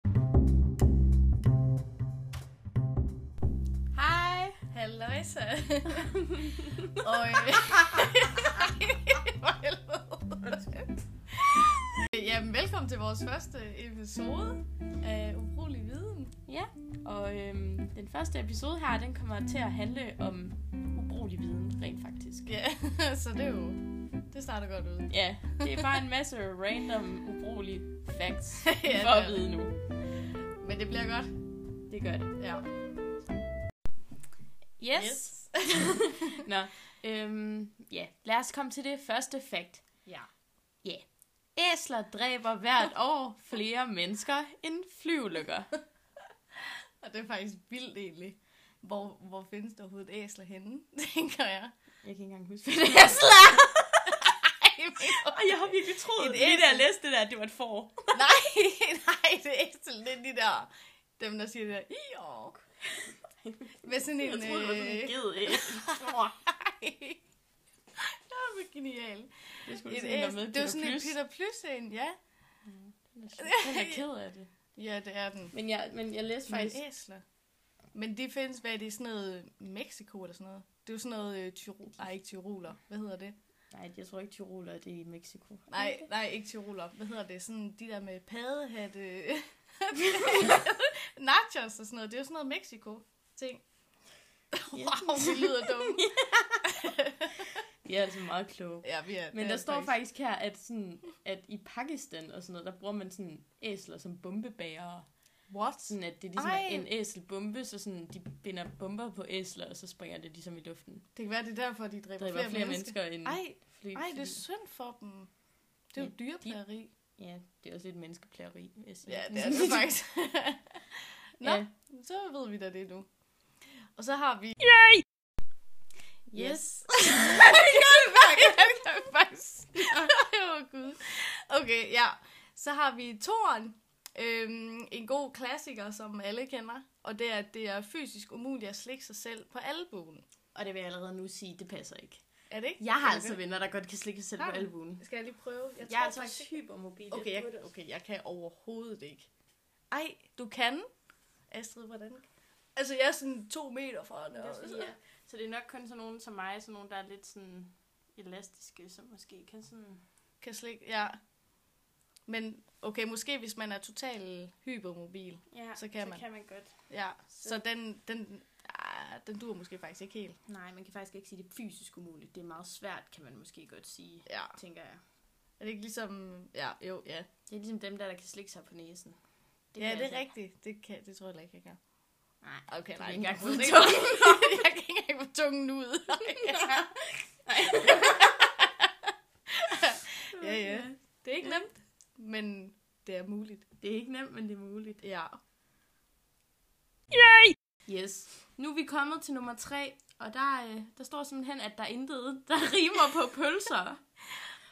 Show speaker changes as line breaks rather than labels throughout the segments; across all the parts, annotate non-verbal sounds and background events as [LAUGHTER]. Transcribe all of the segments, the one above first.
[LAUGHS] Hejsa. og... Øh, for helvede. [LAUGHS] Jamen, velkommen til vores første episode af Ubrugelig Viden.
Ja, og øhm, den første episode her, den kommer til at handle om ubrugelig viden, rent faktisk.
Ja, [LAUGHS] så det er jo... Det starter godt ud.
Ja, [LAUGHS] det er bare en masse random, ubrugelige facts
[LAUGHS] Ja,
ja,
det
for
er
at vide nu.
Men det bliver godt.
Det gør det.
Ja.
Yes. yes. Nå, øhm, ja, lad os komme til det første fact.
ja.
Æsler dræber
[LAUGHS]
hvert år flere mennesker end flyulykker.
Og det er faktisk vildt egentlig. Hvor, hvor findes der overhovedet æsler henne, [LAUGHS] tænker jeg.
Jeg kan ikke engang huske, [LAUGHS] hvad æsler
[LAUGHS]
er. Og jeg har virkelig troet,
Et
at det, da jeg læste det der, at det var et får.
[LAUGHS] nej, nej, det er æsel. Det er de der, dem der siger det der, i år. Med sådan en...
Jeg troede, det var sådan
[LAUGHS]
en
øh,
ged
Det var genialt.
Det skulle
Et
sådan en, der
æs,
med
det er jo sådan en
Plus.
Peter Plus en, ja.
Den er ked af det.
Ja, det er den.
[LAUGHS] Men jeg, men jeg læste
Men
faktisk...
æsler. Men de findes, hvad er det, sådan noget Mexico eller sådan noget? Det er jo sådan noget øh, tyro... Nej, ikke tyroler. Hvad hedder det?
Nej, jeg tror ikke, Tiroler det er i Mexico.
Nej, nej, ikke tyroler. Hvad hedder det? Sådan de der med [LAUGHS] padehatte... Nachos og sådan noget. Det er jo sådan noget Mexico-ting.
Ja.
Wow, vi lyder dumme.
Det er altså meget kloge.
Ja, vi er,
Men
det
der
er
står faktisk her, at, sådan, at i Pakistan og sådan noget, der bruger man sådan æsler som bombebærere.
What?
Sådan at det er ligesom
Ej.
Ej. en æselbombe, så sådan, de binder bomber på æsler, og så springer det ligesom i luften.
Det kan være, det er derfor, de dræber,
Der er flere, flere mennesker, end
Ej,
fly.
ej, det er
fordi-
synd for dem. Det er jo
Ja,
dyreplageri.
Ja, det er også lidt menneskeplageri, vil jeg sige. [LAUGHS]
Ja, det er det faktisk. [LAUGHS] Nå,
Ja.
så ved vi da det nu. Og så har vi... [LAUGHS]
Yes.
det er faktisk... Åh, Gud. Okay, ja. Så har vi toren. Øhm, en god klassiker, som alle kender. Og det er, at det er fysisk umuligt at slikke sig selv på albuen.
Og det vil jeg allerede nu sige, det passer ikke.
Er det ikke?
Jeg har
Okay.
altså venner, der godt kan slikke sig selv
Har
på
du?
albuen.
Skal jeg lige prøve?
Jeg, jeg er altså også hypermobil.
Okay, jeg, okay, jeg kan overhovedet ikke. Ej, du kan. Astrid, hvordan? Altså, jeg er sådan to meter foran.
Det er
og-
også, ja. Så det er nok kun sådan nogen som mig, sådan nogen, der er lidt sådan elastiske, som måske kan sådan...
Kan slik, ja. Men okay, måske hvis man er total hypermobil.
Ja,
Så kan man.
så kan man godt.
Ja, så
Så-
den, den, ah, den dur måske faktisk ikke helt.
Nej, man kan faktisk ikke sige, det er fysisk umuligt. Det er meget svært, kan man måske godt sige,
Ja,
tænker jeg.
er det ikke ligesom, ja, jo, ja.
Det er ligesom dem der, der kan slikke sig på næsen.
Det ja,
kan
det
jeg
er
altså
rigtigt. Det, kan, det tror jeg heller ikke, jeg kan.
ikke. [LAUGHS] Nej.
Okay,
kan
nej,
ikke
jeg
engang
kan
få
ikke [LAUGHS] Jeg kan ikke engang få tungen ud. [LAUGHS] ja, ja. Det er ikke nemt, men det er muligt.
Det er ikke nemt, men det er muligt.
Ja.
Yes. Nu er vi kommet til nummer tre, og der, øh, der står simpelthen, at der er intet, der [LAUGHS] rimer på pølser.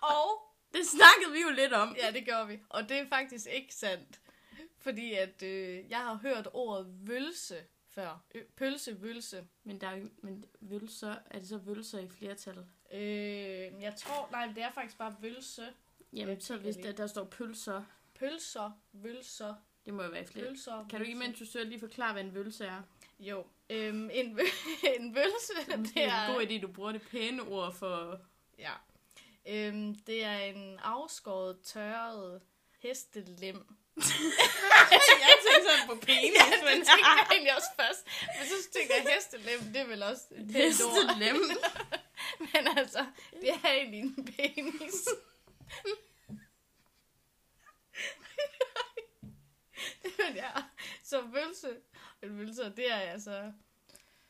Og
Det snakkede vi jo lidt om.
Ja, det gjorde vi. Og det er faktisk ikke sandt. Fordi at øh, jeg har hørt ordet vølse før. Ø- pølse, vølse.
Men, der er jo, men vølser, er det så vølser i flertal?
Øh, jeg tror, nej, det er faktisk bare vølse.
Jamen, så hvis
lige.
der, der står pølser,
Pølser, vølser,
det må jo være i flere.
pølser.
Kan du ikke,
vølse.
imens du søger, lige forklare, hvad en vølse er?
Jo. Øhm, en, vø- [LAUGHS] en vølse,
[LAUGHS] Det er måske
det er...
en god idé, du bruger det pæne ord for...
Ja. Øhm, det er en afskåret, tørret [LAUGHS] hestelem.
jeg tænkte sådan på penis,
Ja, det tænkte jeg egentlig også først. Men så tænkte jeg, hestelem, det er vel også et pænt ord.
lem.
Men altså, det er egentlig en penis. [LAUGHS] Men ja, så vølse, en vølse, det er altså,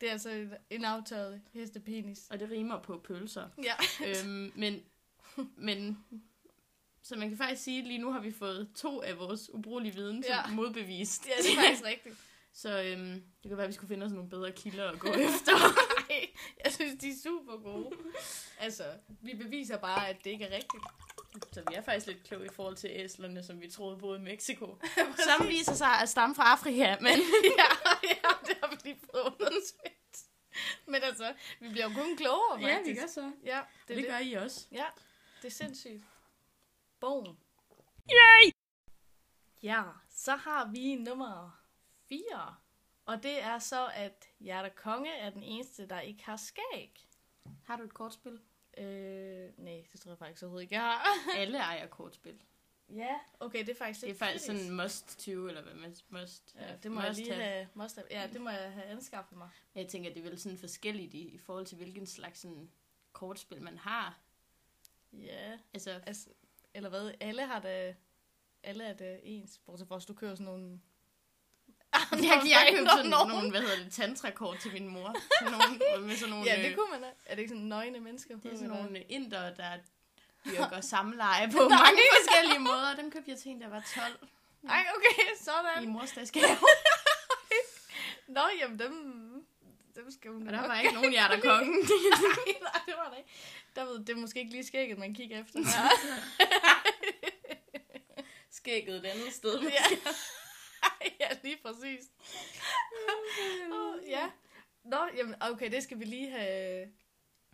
det er altså en, en aftørret hestepenis.
[LAUGHS] Og det rimer på pølser.
Ja.
øhm, men, men... Så man kan faktisk sige, at lige nu har vi fået to af vores ubrugelige viden som
Ja.
modbevist.
ja, det er faktisk rigtigt.
[LAUGHS] så øhm, det kan være, at vi skulle finde os nogle bedre kilder [LAUGHS] at gå
[LAUGHS]
efter.
Ej, jeg synes, de er super gode. Altså, vi beviser bare, at det ikke er rigtigt.
Så vi er faktisk lidt kloge i forhold til æslerne, som vi troede boede i Mexico. som viser sig at stamme fra Afrika, men...
[LAUGHS] ja, ja, det har vi lige fået undersøgt. Men altså, vi bliver jo kun klogere, faktisk.
så. Det,
Ja,
det, det gør I også.
Ja, det er sindssygt. Bogen. Yay! Ja, så har vi nummer 4. Og det er så, at Hjerter Konge er den eneste, der ikke har skæg.
Har du et kortspil?
Øh, nej, det tror jeg faktisk overhovedet ikke, jeg har.
Alle ejer
[LAUGHS]
kortspil.
Ja, okay, det er faktisk
Det er
lidt
faktisk sådan
kritisk.
en must 20, eller hvad man must
Ja,
have-
det må jeg
must
lige
have.
have, must have. Ja, det må jeg have anskaffet mig.
Jeg tænker, det er vel sådan forskelligt i, i forhold til, hvilken slags sådan, kortspil man har.
Ja,
Altså, [LAUGHS]
altså, eller hvad, alle har da, alle er da ens, bortset fra, hvis du kører sådan nogle...
Ah, jeg, jeg købte sådan
Random
nogle, hvad hedder det, tantrakort til min mor. Sådan
[LAUGHS]
nogle, med sådan nogle,
Ja, det
øh,
kunne man da. Er det ikke sådan nøgne mennesker?
det er
på,
sådan
eller?
nogle øh, indere, der dyrker
[LAUGHS]
samleje på mange forskellige måder. Dem købte jeg til en, der var 12
Ej, okay,
i
sådan.
mors
[LAUGHS]
dagsgave.
Nå, jamen dem, dem skal hun
Og
nok-
der var ikke nogen hjerter kongen.
Nej, [LAUGHS] nej, det var det ikke. Der ved, det er måske ikke lige skægget, man kigger
[LAUGHS]
efter. Ja.
Skægget et andet sted. [LAUGHS]
[LAUGHS] ja. ja, lige præcis. Åh, ja. Nå, jamen, okay, det skal vi lige have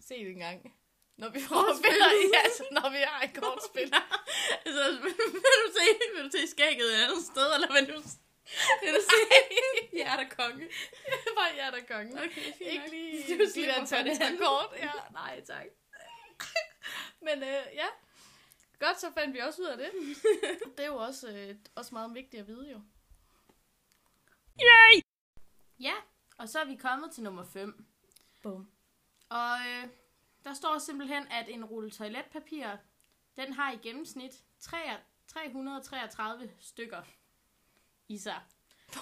set en gang. Når vi får spiller, [LAUGHS] ja, altså, når vi har et [LAUGHS] kortspil.
Altså, vil du se, vil du se skægget et andet sted, eller vil du, vil du se hjerter konge?
Det var jeg, der kongen.
Okay, fint
Ikke
nok.
lige
Du
de
slipper
der
for det andet.
tantakort. Ja.
Nej, tak.
Men øh, ja, godt, så fandt vi også ud af [LAUGHS] det. Det er jo også, øh, også meget vigtigt at vide jo.
Ja, og så er vi kommet til nummer 5.
Bum.
Og øh, der står simpelthen, at en rulle toiletpapir, den har i gennemsnit tre- 333 stykker i [LAUGHS] sig.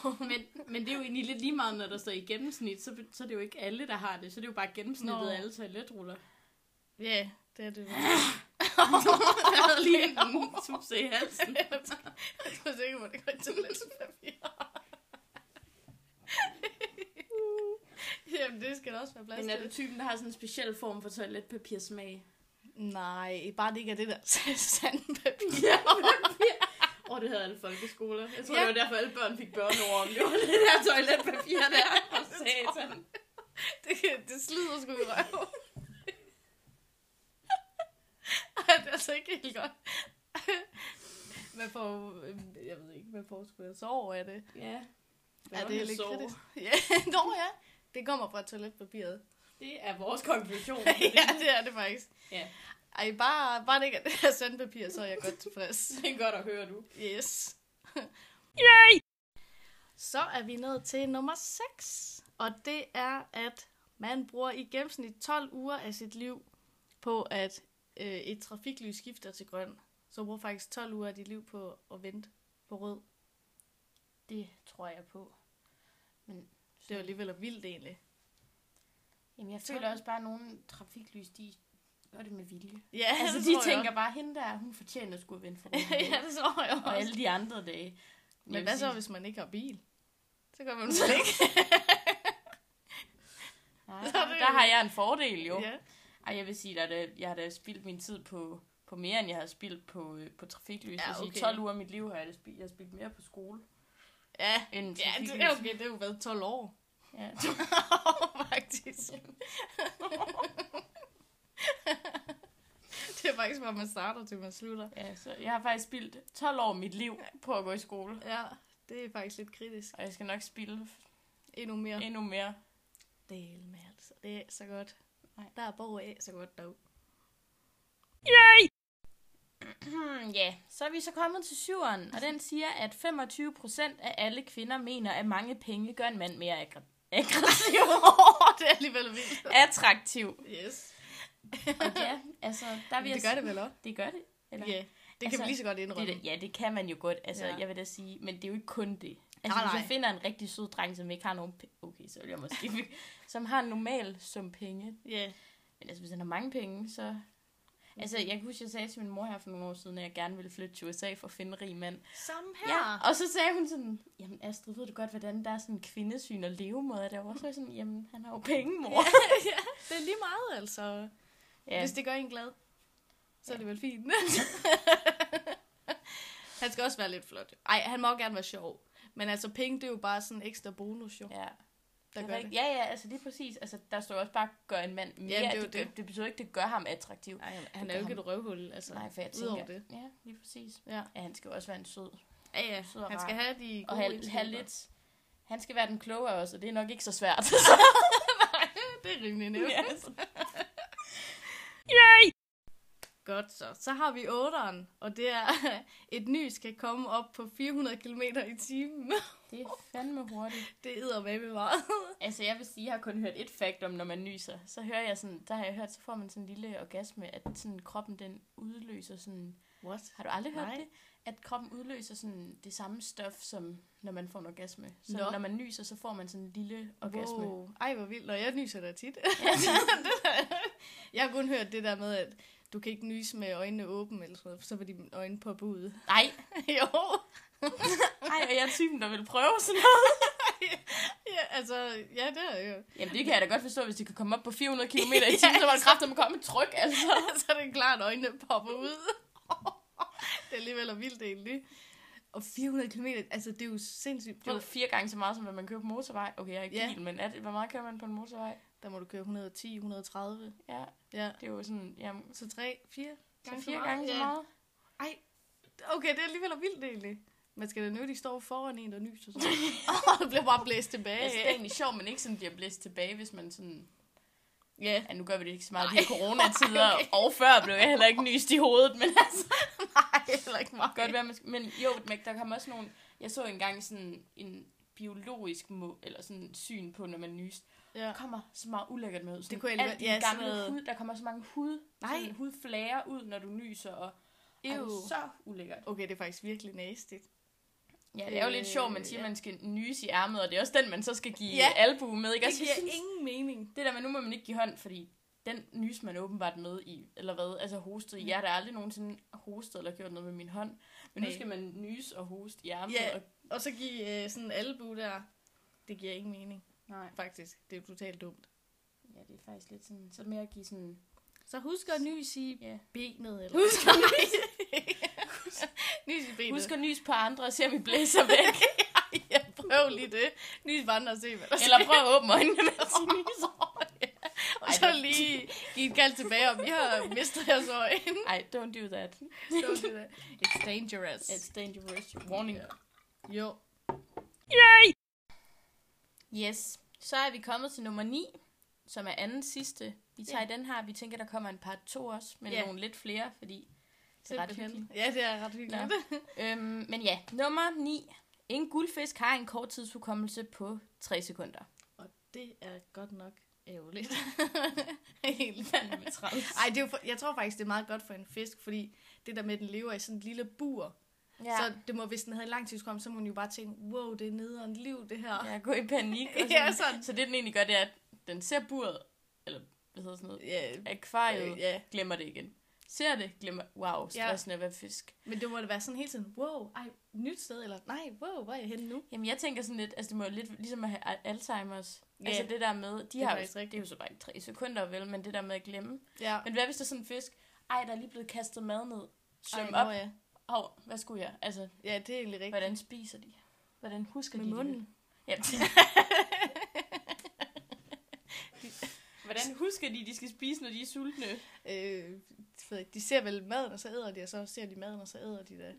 Men, men det er jo egentlig lidt lige meget, når der står i gennemsnit, så, så er det jo ikke alle, der har det. Så er det er jo bare gennemsnittet
Nå.
af alle [LAUGHS] toiletruller.
Ja, yeah, det er det. [LAUGHS]
Jeg havde lige en tubse i halsen.
Jeg var sikker på, at det går i toiletpapir. [LAUGHS] Jamen, det skal der også være plads
Men er du
til.
typen, der har sådan en speciel form for toiletpapirsmag? [LAUGHS]
Nej, bare det ikke er det der [LAUGHS] sandpapir.
Ja, Åh, oh, det havde alle folkeskoler. Jeg tror,
Ja.
ja. det var derfor, alle børn fik børneord om det. var det der toiletpapir [LAUGHS] der. Og satan.
Det, kan- det slider sgu i røven. [LAUGHS] Ej, det er altså ikke helt godt. [LAUGHS] Man får jo, øhm, jeg ved ikke, man får sgu da sår af det.
Ja.
Ja, det er lidt kritisk. [LAUGHS] Ja, nå ja. Det kommer fra [LAUGHS] toiletpapiret.
Det er vores
[LAUGHS]
konklusion.
ja, det er det faktisk.
Ja.
Ej, bare, bare det ikke er det her sandpapir, så er jeg godt tilfreds.
Det er godt at høre, du.
Yes. [LAUGHS] Yay! Så er vi nået til nummer 6, og det er, at man bruger i gennemsnit 12 uger af sit liv på, at øh, et trafiklys skifter til grøn. Så bruger faktisk 12 uger af dit liv på at vente på rød.
Det tror jeg på.
Det er jo alligevel vildt egentlig.
Jamen, jeg
føler
også bare, at nogle trafiklys, de gør det med vilje.
Ja,
Altså,
det
de
tror jeg
tænker bare, hende der, hun fortjener sgu at vinde for
også. [LAUGHS] ja, det tror jeg
Og
også.
alle de andre dage.
Men hvad så, hvis man ikke har bil? Så gør man slet ikke.
Nej,
Så er det
der
jo-
har jeg en fordel, [LAUGHS] jo.
Ja.
Ej, jeg vil sige, at jeg har da spildt min tid på, på mere, end jeg har spildt på, øh, på trafiklys.
Ja,
Ja, okay.
okay.
I 12 uger af mit liv har jeg, da spildt, jeg har spildt mere på skole
ja.
end
Ja,
trafiklys.
det er okay, det er jo været 12 år.
Ja.
[LAUGHS] faktisk. det er faktisk, hvor man starter til man slutter.
ja, så jeg har faktisk spildt 12 år af mit liv på at gå i skole.
Ja, det er faktisk lidt kritisk.
Og jeg skal nok spille
Endnu mere.
endnu mere.
Del med altså. Det er så godt.
Nej.
Der er borg af så godt [LAUGHS] dog.
[CLEARS THROAT] ja, så er vi så kommet til syveren, og den siger, at 25 procent af alle kvinder mener, at mange penge gør en mand mere aggra-
[LAUGHS]
aggressiv
det er alligevel vildt.
attraktiv.
Yes.
Og ja, altså, der vil jeg
Det gør det vel også?
s- Det gør det. Eller?
Ja. Det kan
Altså,
vi lige så godt
Det,
indrømme.
der- ja, det kan man jo godt. Altså,
Ja.
ja. jeg vil da sige, men det er jo ikke kun det. Altså,
Nej,
hvis
nej.
jeg finder en rigtig sød dreng, som ikke har nogen penge, okay, så vil jeg måske
[LAUGHS]
ikke, som har en normal sum penge.
Ja.
Men altså, hvis han har mange penge, så...
Mhm.
Altså, jeg kan huske, jeg sagde til min mor her for nogle år siden, at jeg gerne ville flytte til USA for at finde en rig mand.
Samme
Ja, og så sagde hun sådan, jamen Astrid, ved du godt, hvordan der er sådan kvindesyn og levemåde derovre? Så var jeg sådan, jamen, han har jo penge, mor.
[LAUGHS] ja. Det er lige meget, altså. Ja.
Ja,
Hvis det gør en glad, så er det vel fint. [LAUGHS] han skal også være lidt flot. jo. Ej, han må også gerne være sjov. Men altså, penge, det er jo bare sådan en ekstra bonus, jo,
ja.
der
Det er
gør
rigtigt.
det.
Ja, ja, altså lige præcis. Altså, der står jo også bare, gør en mand mere.
Jamen, det er jo
det, gør-
det.
det betyder ikke, det gør ham attraktiv.
Ej, han, han
Det
er jo
gør
ikke et røvhul, altså.
Nej, for jeg
udover
tænker...
det.
Ja, lige præcis.
Ja.
Ja, han skal jo også være en sød.
Ja, ja.
Sød og
Han skal
rar.
have de
Og
gode
have, have
egenskaber.
lidt... Han skal være den kloge af os, og det er nok ikke så
[LAUGHS]
svært.
Det er rimelig nemt. [LAUGHS]
Yes.
Yay! Godt så. Så har vi 8'eren, og det er, [LAUGHS] et ny skal komme op på 400 km i timen. [LAUGHS]
det er fandme hurtigt.
Det æder med med meget.
Altså, jeg vil sige, jeg har kun hørt et fakt om, når man nyser. Så hører jeg sådan, der har jeg hørt, så får man sådan en lille orgasme, at sådan kroppen den udløser sådan...
What?
Har du aldrig hørt
Nej.
det? At kroppen udløser sådan det samme stof, som når man får en orgasme. Så
Nå.
når man nyser, så får man sådan en lille orgasme. Wow.
Wow. Ej, hvor vildt. Og jeg nyser da tit. [LAUGHS] Det der- jeg har kun hørt det der med, at du kan ikke nyse med øjnene åbne, eller sådan noget, for så vil dine øjne poppe ud. [LAUGHS]
Nej,
jo.
nej, og jeg er typen, der vil prøve sådan noget.
Ja, altså, ja, det er jo. [LAUGHS]
Jamen, det kan jeg da godt forstå, hvis det kan komme op på [LAUGHS] 400 km i timen, så var det kraftigt med at komme et tryk, altså.
så er det klart, at øjnene popper ud. [LAUGHS] det er alligevel vildt egentlig. Og 400 km, altså det er jo sindssygt.
Det er jo fire gange så meget, som hvad man kører på motorvej. Okay, jeg er ikke
Ja.
ja. bil, men er det, hvor meget kører man på en motorvej?
Der må du køre 110, 130.
Ja,
Ja.
det er jo sådan, jamen,
Så 3, 4
så fire gange så
Ja.
meget.
Okay, det er alligevel vildt egentlig. Man skal da nødt, de står foran en, der nyser
[LAUGHS]
sig. og [LAUGHS] det bliver bare blæst
Ja,
tilbage.
altså, det er egentlig sjovt, men ikke sådan bliver blæst tilbage, hvis man sådan...
Ja.
Ja, nu gør vi det ikke så meget
Nej.
i coronatider,
Okay.
okay. og før blev jeg heller ikke nyst i hovedet, men [LAUGHS] altså...
Nej, heller ikke meget.
Godt være, man skal, men jo, men der kom også nogle... Jeg så engang sådan en biologisk må, eller sådan syn på, når man nyst.
Ja.
Der kommer så meget ulækkert med. Sådan
Det kunne jeg
alt
alligevel-
din
ja, sådan
gamle
noget-
hud, der kommer så mange hud,
Nej.
sådan hudflager ud, når du nyser, og Ej, det er så ulækkert.
Okay, det er faktisk virkelig nasty.
Ja, det er jo lidt
Øh,
sjovt, man siger,
ja.
at man skal nyse i ærmet, og det er også den, man så skal give
Ja.
ja. albu med. Ikke?
Det
Også, jeg
giver
synes,
ingen mening.
det der med, nu må man ikke give hånd, fordi den nys man åbenbart med i, eller hvad, altså hostet. Jeg har da aldrig nogensinde hostet eller gjort noget med min hånd, men
Nej.
nu skal man nyse og hoste i ærmet.
Ja.
Og...
Og så give øh, sådan en albu der. Det giver ingen mening,
Nej,
faktisk. Det er jo totalt dumt.
ja, det er faktisk lidt sådan, så er det mere at give sådan,
Så husk at nys i
ja.
benet. Eller?
Husk
[LAUGHS] at nys. nys i benet.
Husk at nyse på andre og se, om I blæser [LAUGHS] væk,
[LAUGHS] ja, prøv lige det. Nys vandre og se, hvad der [LAUGHS]
eller prøv at åbne øjnene, mens I nyser.
sker. Og så lige give et kald tilbage, om I har mistet jeres
[LAUGHS]
øjne.
Ej, don't do that.
Så det der. It's dangerous.
It's dangerous. Warning.
Ja. Jo.
Yes, så er vi kommet til nummer 9, som er anden sidste. Vi tager
Ja.
yeah. den her, vi tænker, der kommer en par to også, men
Ja.
yeah. nogle lidt flere, fordi det er ret
Simpelthen.
hyggeligt.
Ja, det er ret hyggeligt. [LAUGHS]
Øhm, men ja, nummer 9. En guldfisk har en kort tidshukommelse på 3 sekunder.
Og det er godt nok
[LAUGHS]
ærgerligt. Helt
Fandme træls.
[LAUGHS] Ej, det er jo for, jeg tror faktisk, det er meget godt for en fisk, fordi det der med, at den lever i sådan et lille bur, ja. så det må, hvis den havde en lang tidskom, så må den jo bare tænke, wow, det er nederen liv, det her. Ja.
jeg går i panik. Og sådan.
[LAUGHS] Ja, sådan.
Så det, den egentlig gør, det er, at den ser buret, eller hvad hedder sådan noget,
Ja,
akvariet,
øh, ja.
glemmer det igen. Ser det, glemmer, wow, stressen at være fisk.
Men det må det være sådan hele tiden, wow, ej, nyt sted, eller nej, wow, hvor er jeg henne nu?
Jamen, jeg tænker sådan lidt, altså det må jo lidt ligesom at have al- Alzheimer's.
Ja.
Yeah. Altså det der med, de
er
det har jo,
faktisk
det er jo så bare ikke tre sekunder vel, men det der med at glemme.
Ja.
Men hvad hvis der er sådan en fisk, ej, der er lige blevet kastet mad ned. Søm
Ej,
op.
hvor er jeg?
Hov, hvad skulle jeg? Altså,
Ja, det er egentlig rigtigt.
hvordan spiser de? Hvordan husker
Med
de
munden.
[LAUGHS] det? Ja. hvordan husker de, de skal spise, når de er sultne?
[LAUGHS] Øh, jeg ved ikke, de ser vel maden, og så æder de, og så ser de maden, og så æder de det.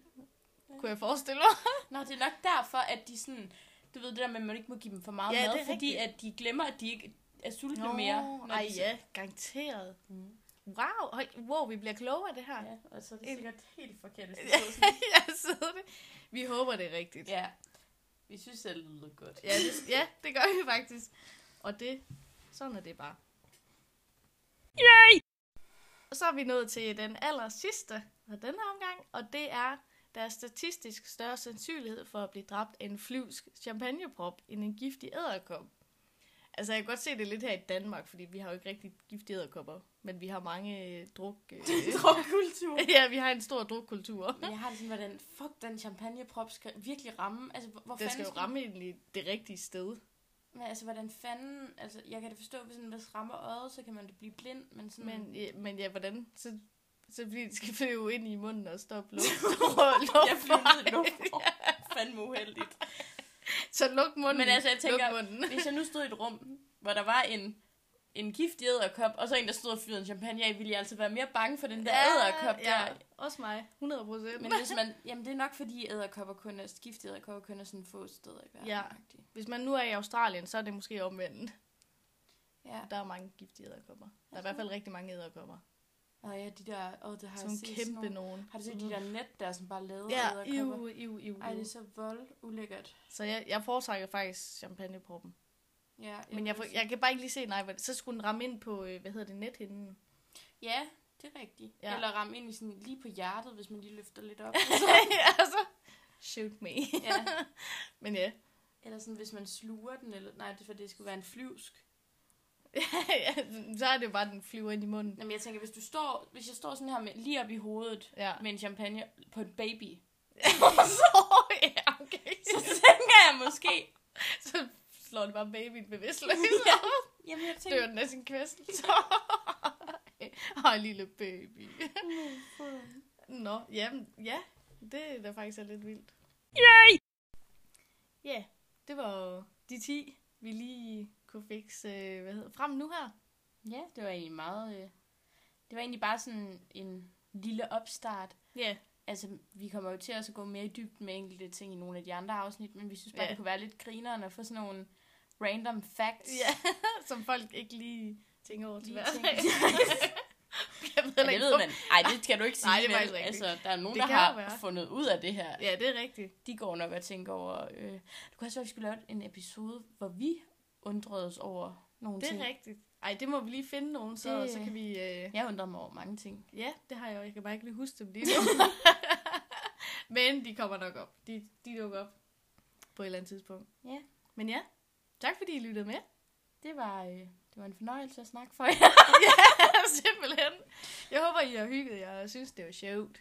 Kunne jeg forestille mig?
Nå, det er nok derfor, at de sådan... Du ved det der med, at man ikke må give dem for meget
Ja,
mad,
det er
fordi
rigtigt.
at de glemmer, at de ikke er sultne mere. når
ej
de så-
ja, garanteret.
Mm.
Wow, hold, wow, vi bliver klogere af det her.
Ja, og så er det
Helt-
sikkert helt forkert, [LAUGHS] hvis det
Ja.
stod sådan.
[LAUGHS] jeg sidder det. Vi håber, det er rigtigt.
Ja. Vi synes, det lyder godt.
Ja,
[LAUGHS]
det, ja, det gør vi faktisk. Og det, sådan er det bare. Yay! Og så er vi nået til den aller sidste af den her omgang, og det er, der er statistisk større sandsynlighed for at blive dræbt af en flyvsk champagneprop end en giftig æderkop. Altså, jeg kan godt se det lidt her i Danmark, fordi vi har jo ikke rigtig giftige æderkopper, men vi har mange øh, druk... Øh, [LAUGHS]
Drukkultur.
ja, vi har en stor drukkultur.
[LAUGHS] Men jeg har det sådan, hvordan fuck den champagneprop skal virkelig ramme. Altså, hvor hvor
Den skal
fanden
jo ramme egentlig det rigtige sted.
Men altså, hvordan fanden... Altså, jeg kan det forstå, hvis den hvis rammer øjet, så kan man da blive blind, men sådan...
Men, ja, men ja, hvordan? Så, så fordi det skal flyve ind i munden og stoppe
[LAUGHS]
luft. luft
jeg flyver ned i luften.
[LAUGHS]
Fandme uheldigt.
så luk munden.
Men altså, jeg tænker- [LAUGHS]
Luk munden.
Hvis jeg nu stod i et rum, hvor der var en en giftig æderkop, og så en, der stod og fyrede en champagne af, ville jeg altså være mere bange for den der
Ja,
æderkop
ja.
der.
Også mig, 100 procent.
Men altså- hvis man, jamen det er nok fordi æderkopper kun er, giftige æderkopper kun er sådan få steder i verden.
Ja.
agtig.
Hvis man nu er i Australien, så er det måske omvendt.
ja.
Der er mange giftige æderkopper. Der er i hvert fald rigtig mange æderkopper.
Og ja, de der, åh, det har
Som
jeg set sådan
kæmpe
nogle-
nogen.
Har du set de der net der, som bare lader
Ja,
æderkopper?
iu, iu, iu,
Ej, det er
iu.
så vold ulækkert.
Så jeg, jeg foretrækker faktisk champagneproppen.
Ja,
Men jeg,
vil
får,
også-
jeg kan bare ikke lige se, nej, hvor- så skulle den ramme ind på, øh, hvad hedder det,
[LAUGHS]
nethinden.
Ja, det er rigtigt.
Ja.
Ja. Eller ramme ind i sådan, lige på hjertet, hvis man lige løfter
[LAUGHS]
lidt op.
[LAUGHS] altså, shoot me.
ja.
Men ja.
Eller sådan, hvis man sluger den, eller nej, det er for det skulle være en flyvsk.
[LAUGHS] så er det jo bare, den flyver ind i munden.
Jamen, jeg tænker, hvis du står, hvis jeg står sådan her med, lige op i hovedet [LAUGHS]
Ja. [LAUGHS]
med en champagne på et baby,
så, ja, okay.
så tænker jeg måske,
[LAUGHS] Så slår det bare babyen bevidstløs.
[LAUGHS] Ja.
Ja.
jamen jeg
Dør
tænker,
den af sin [LAUGHS] kvæstelse. Ej, lille
[LAUGHS]
baby. Nå, jamen, ja. Det er da faktisk er lidt vildt. Yay! Ja, yeah, det var de 10, vi lige kunne fikse øh, hvad hedder, frem nu her.
ja, det var egentlig meget, øh, det var egentlig bare sådan en lille opstart.
Ja, yeah.
Altså, vi kommer jo til også at gå mere i dybden med enkelte ting i nogle af de andre afsnit, men vi synes bare,
Ja.
det kunne være lidt grineren at få sådan nogle random facts.
Ja, [LAUGHS] som folk ikke lige tænker over til
Lige
hverdag.
tænker- [LAUGHS]
[LAUGHS] jeg ved, heller
Ja, det
ikke,
ved
om-
man. Ej, det skal du ikke sige.
Nej, det er
vel?
faktisk rigtigt.
Altså, der er nogen,
Det
der
kan
har
jo være.
fundet ud af det her.
Ja, det er rigtigt.
De går nok og tænker over... Øh... Du kan også være, at vi skulle lave en episode, hvor vi undrede os over nogle
Det
ting.
er rigtigt. Ej, det må vi lige finde nogen, så,
Det-
så kan vi... Øh...
Jeg undrer mig over mange ting.
Ja, det har jeg jo. Jeg kan bare ikke lige huske dem lige
[LAUGHS]
nu. Men de kommer nok op. De, de dukker op på et eller andet tidspunkt.
Ja.
Men ja, tak fordi I lyttede
[LAUGHS]
med. [LAUGHS]
Det var, øh... det var en fornøjelse at snakke for jer.
Simpelthen. Jeg håber, I har hygget jer og synes, det var sjovt.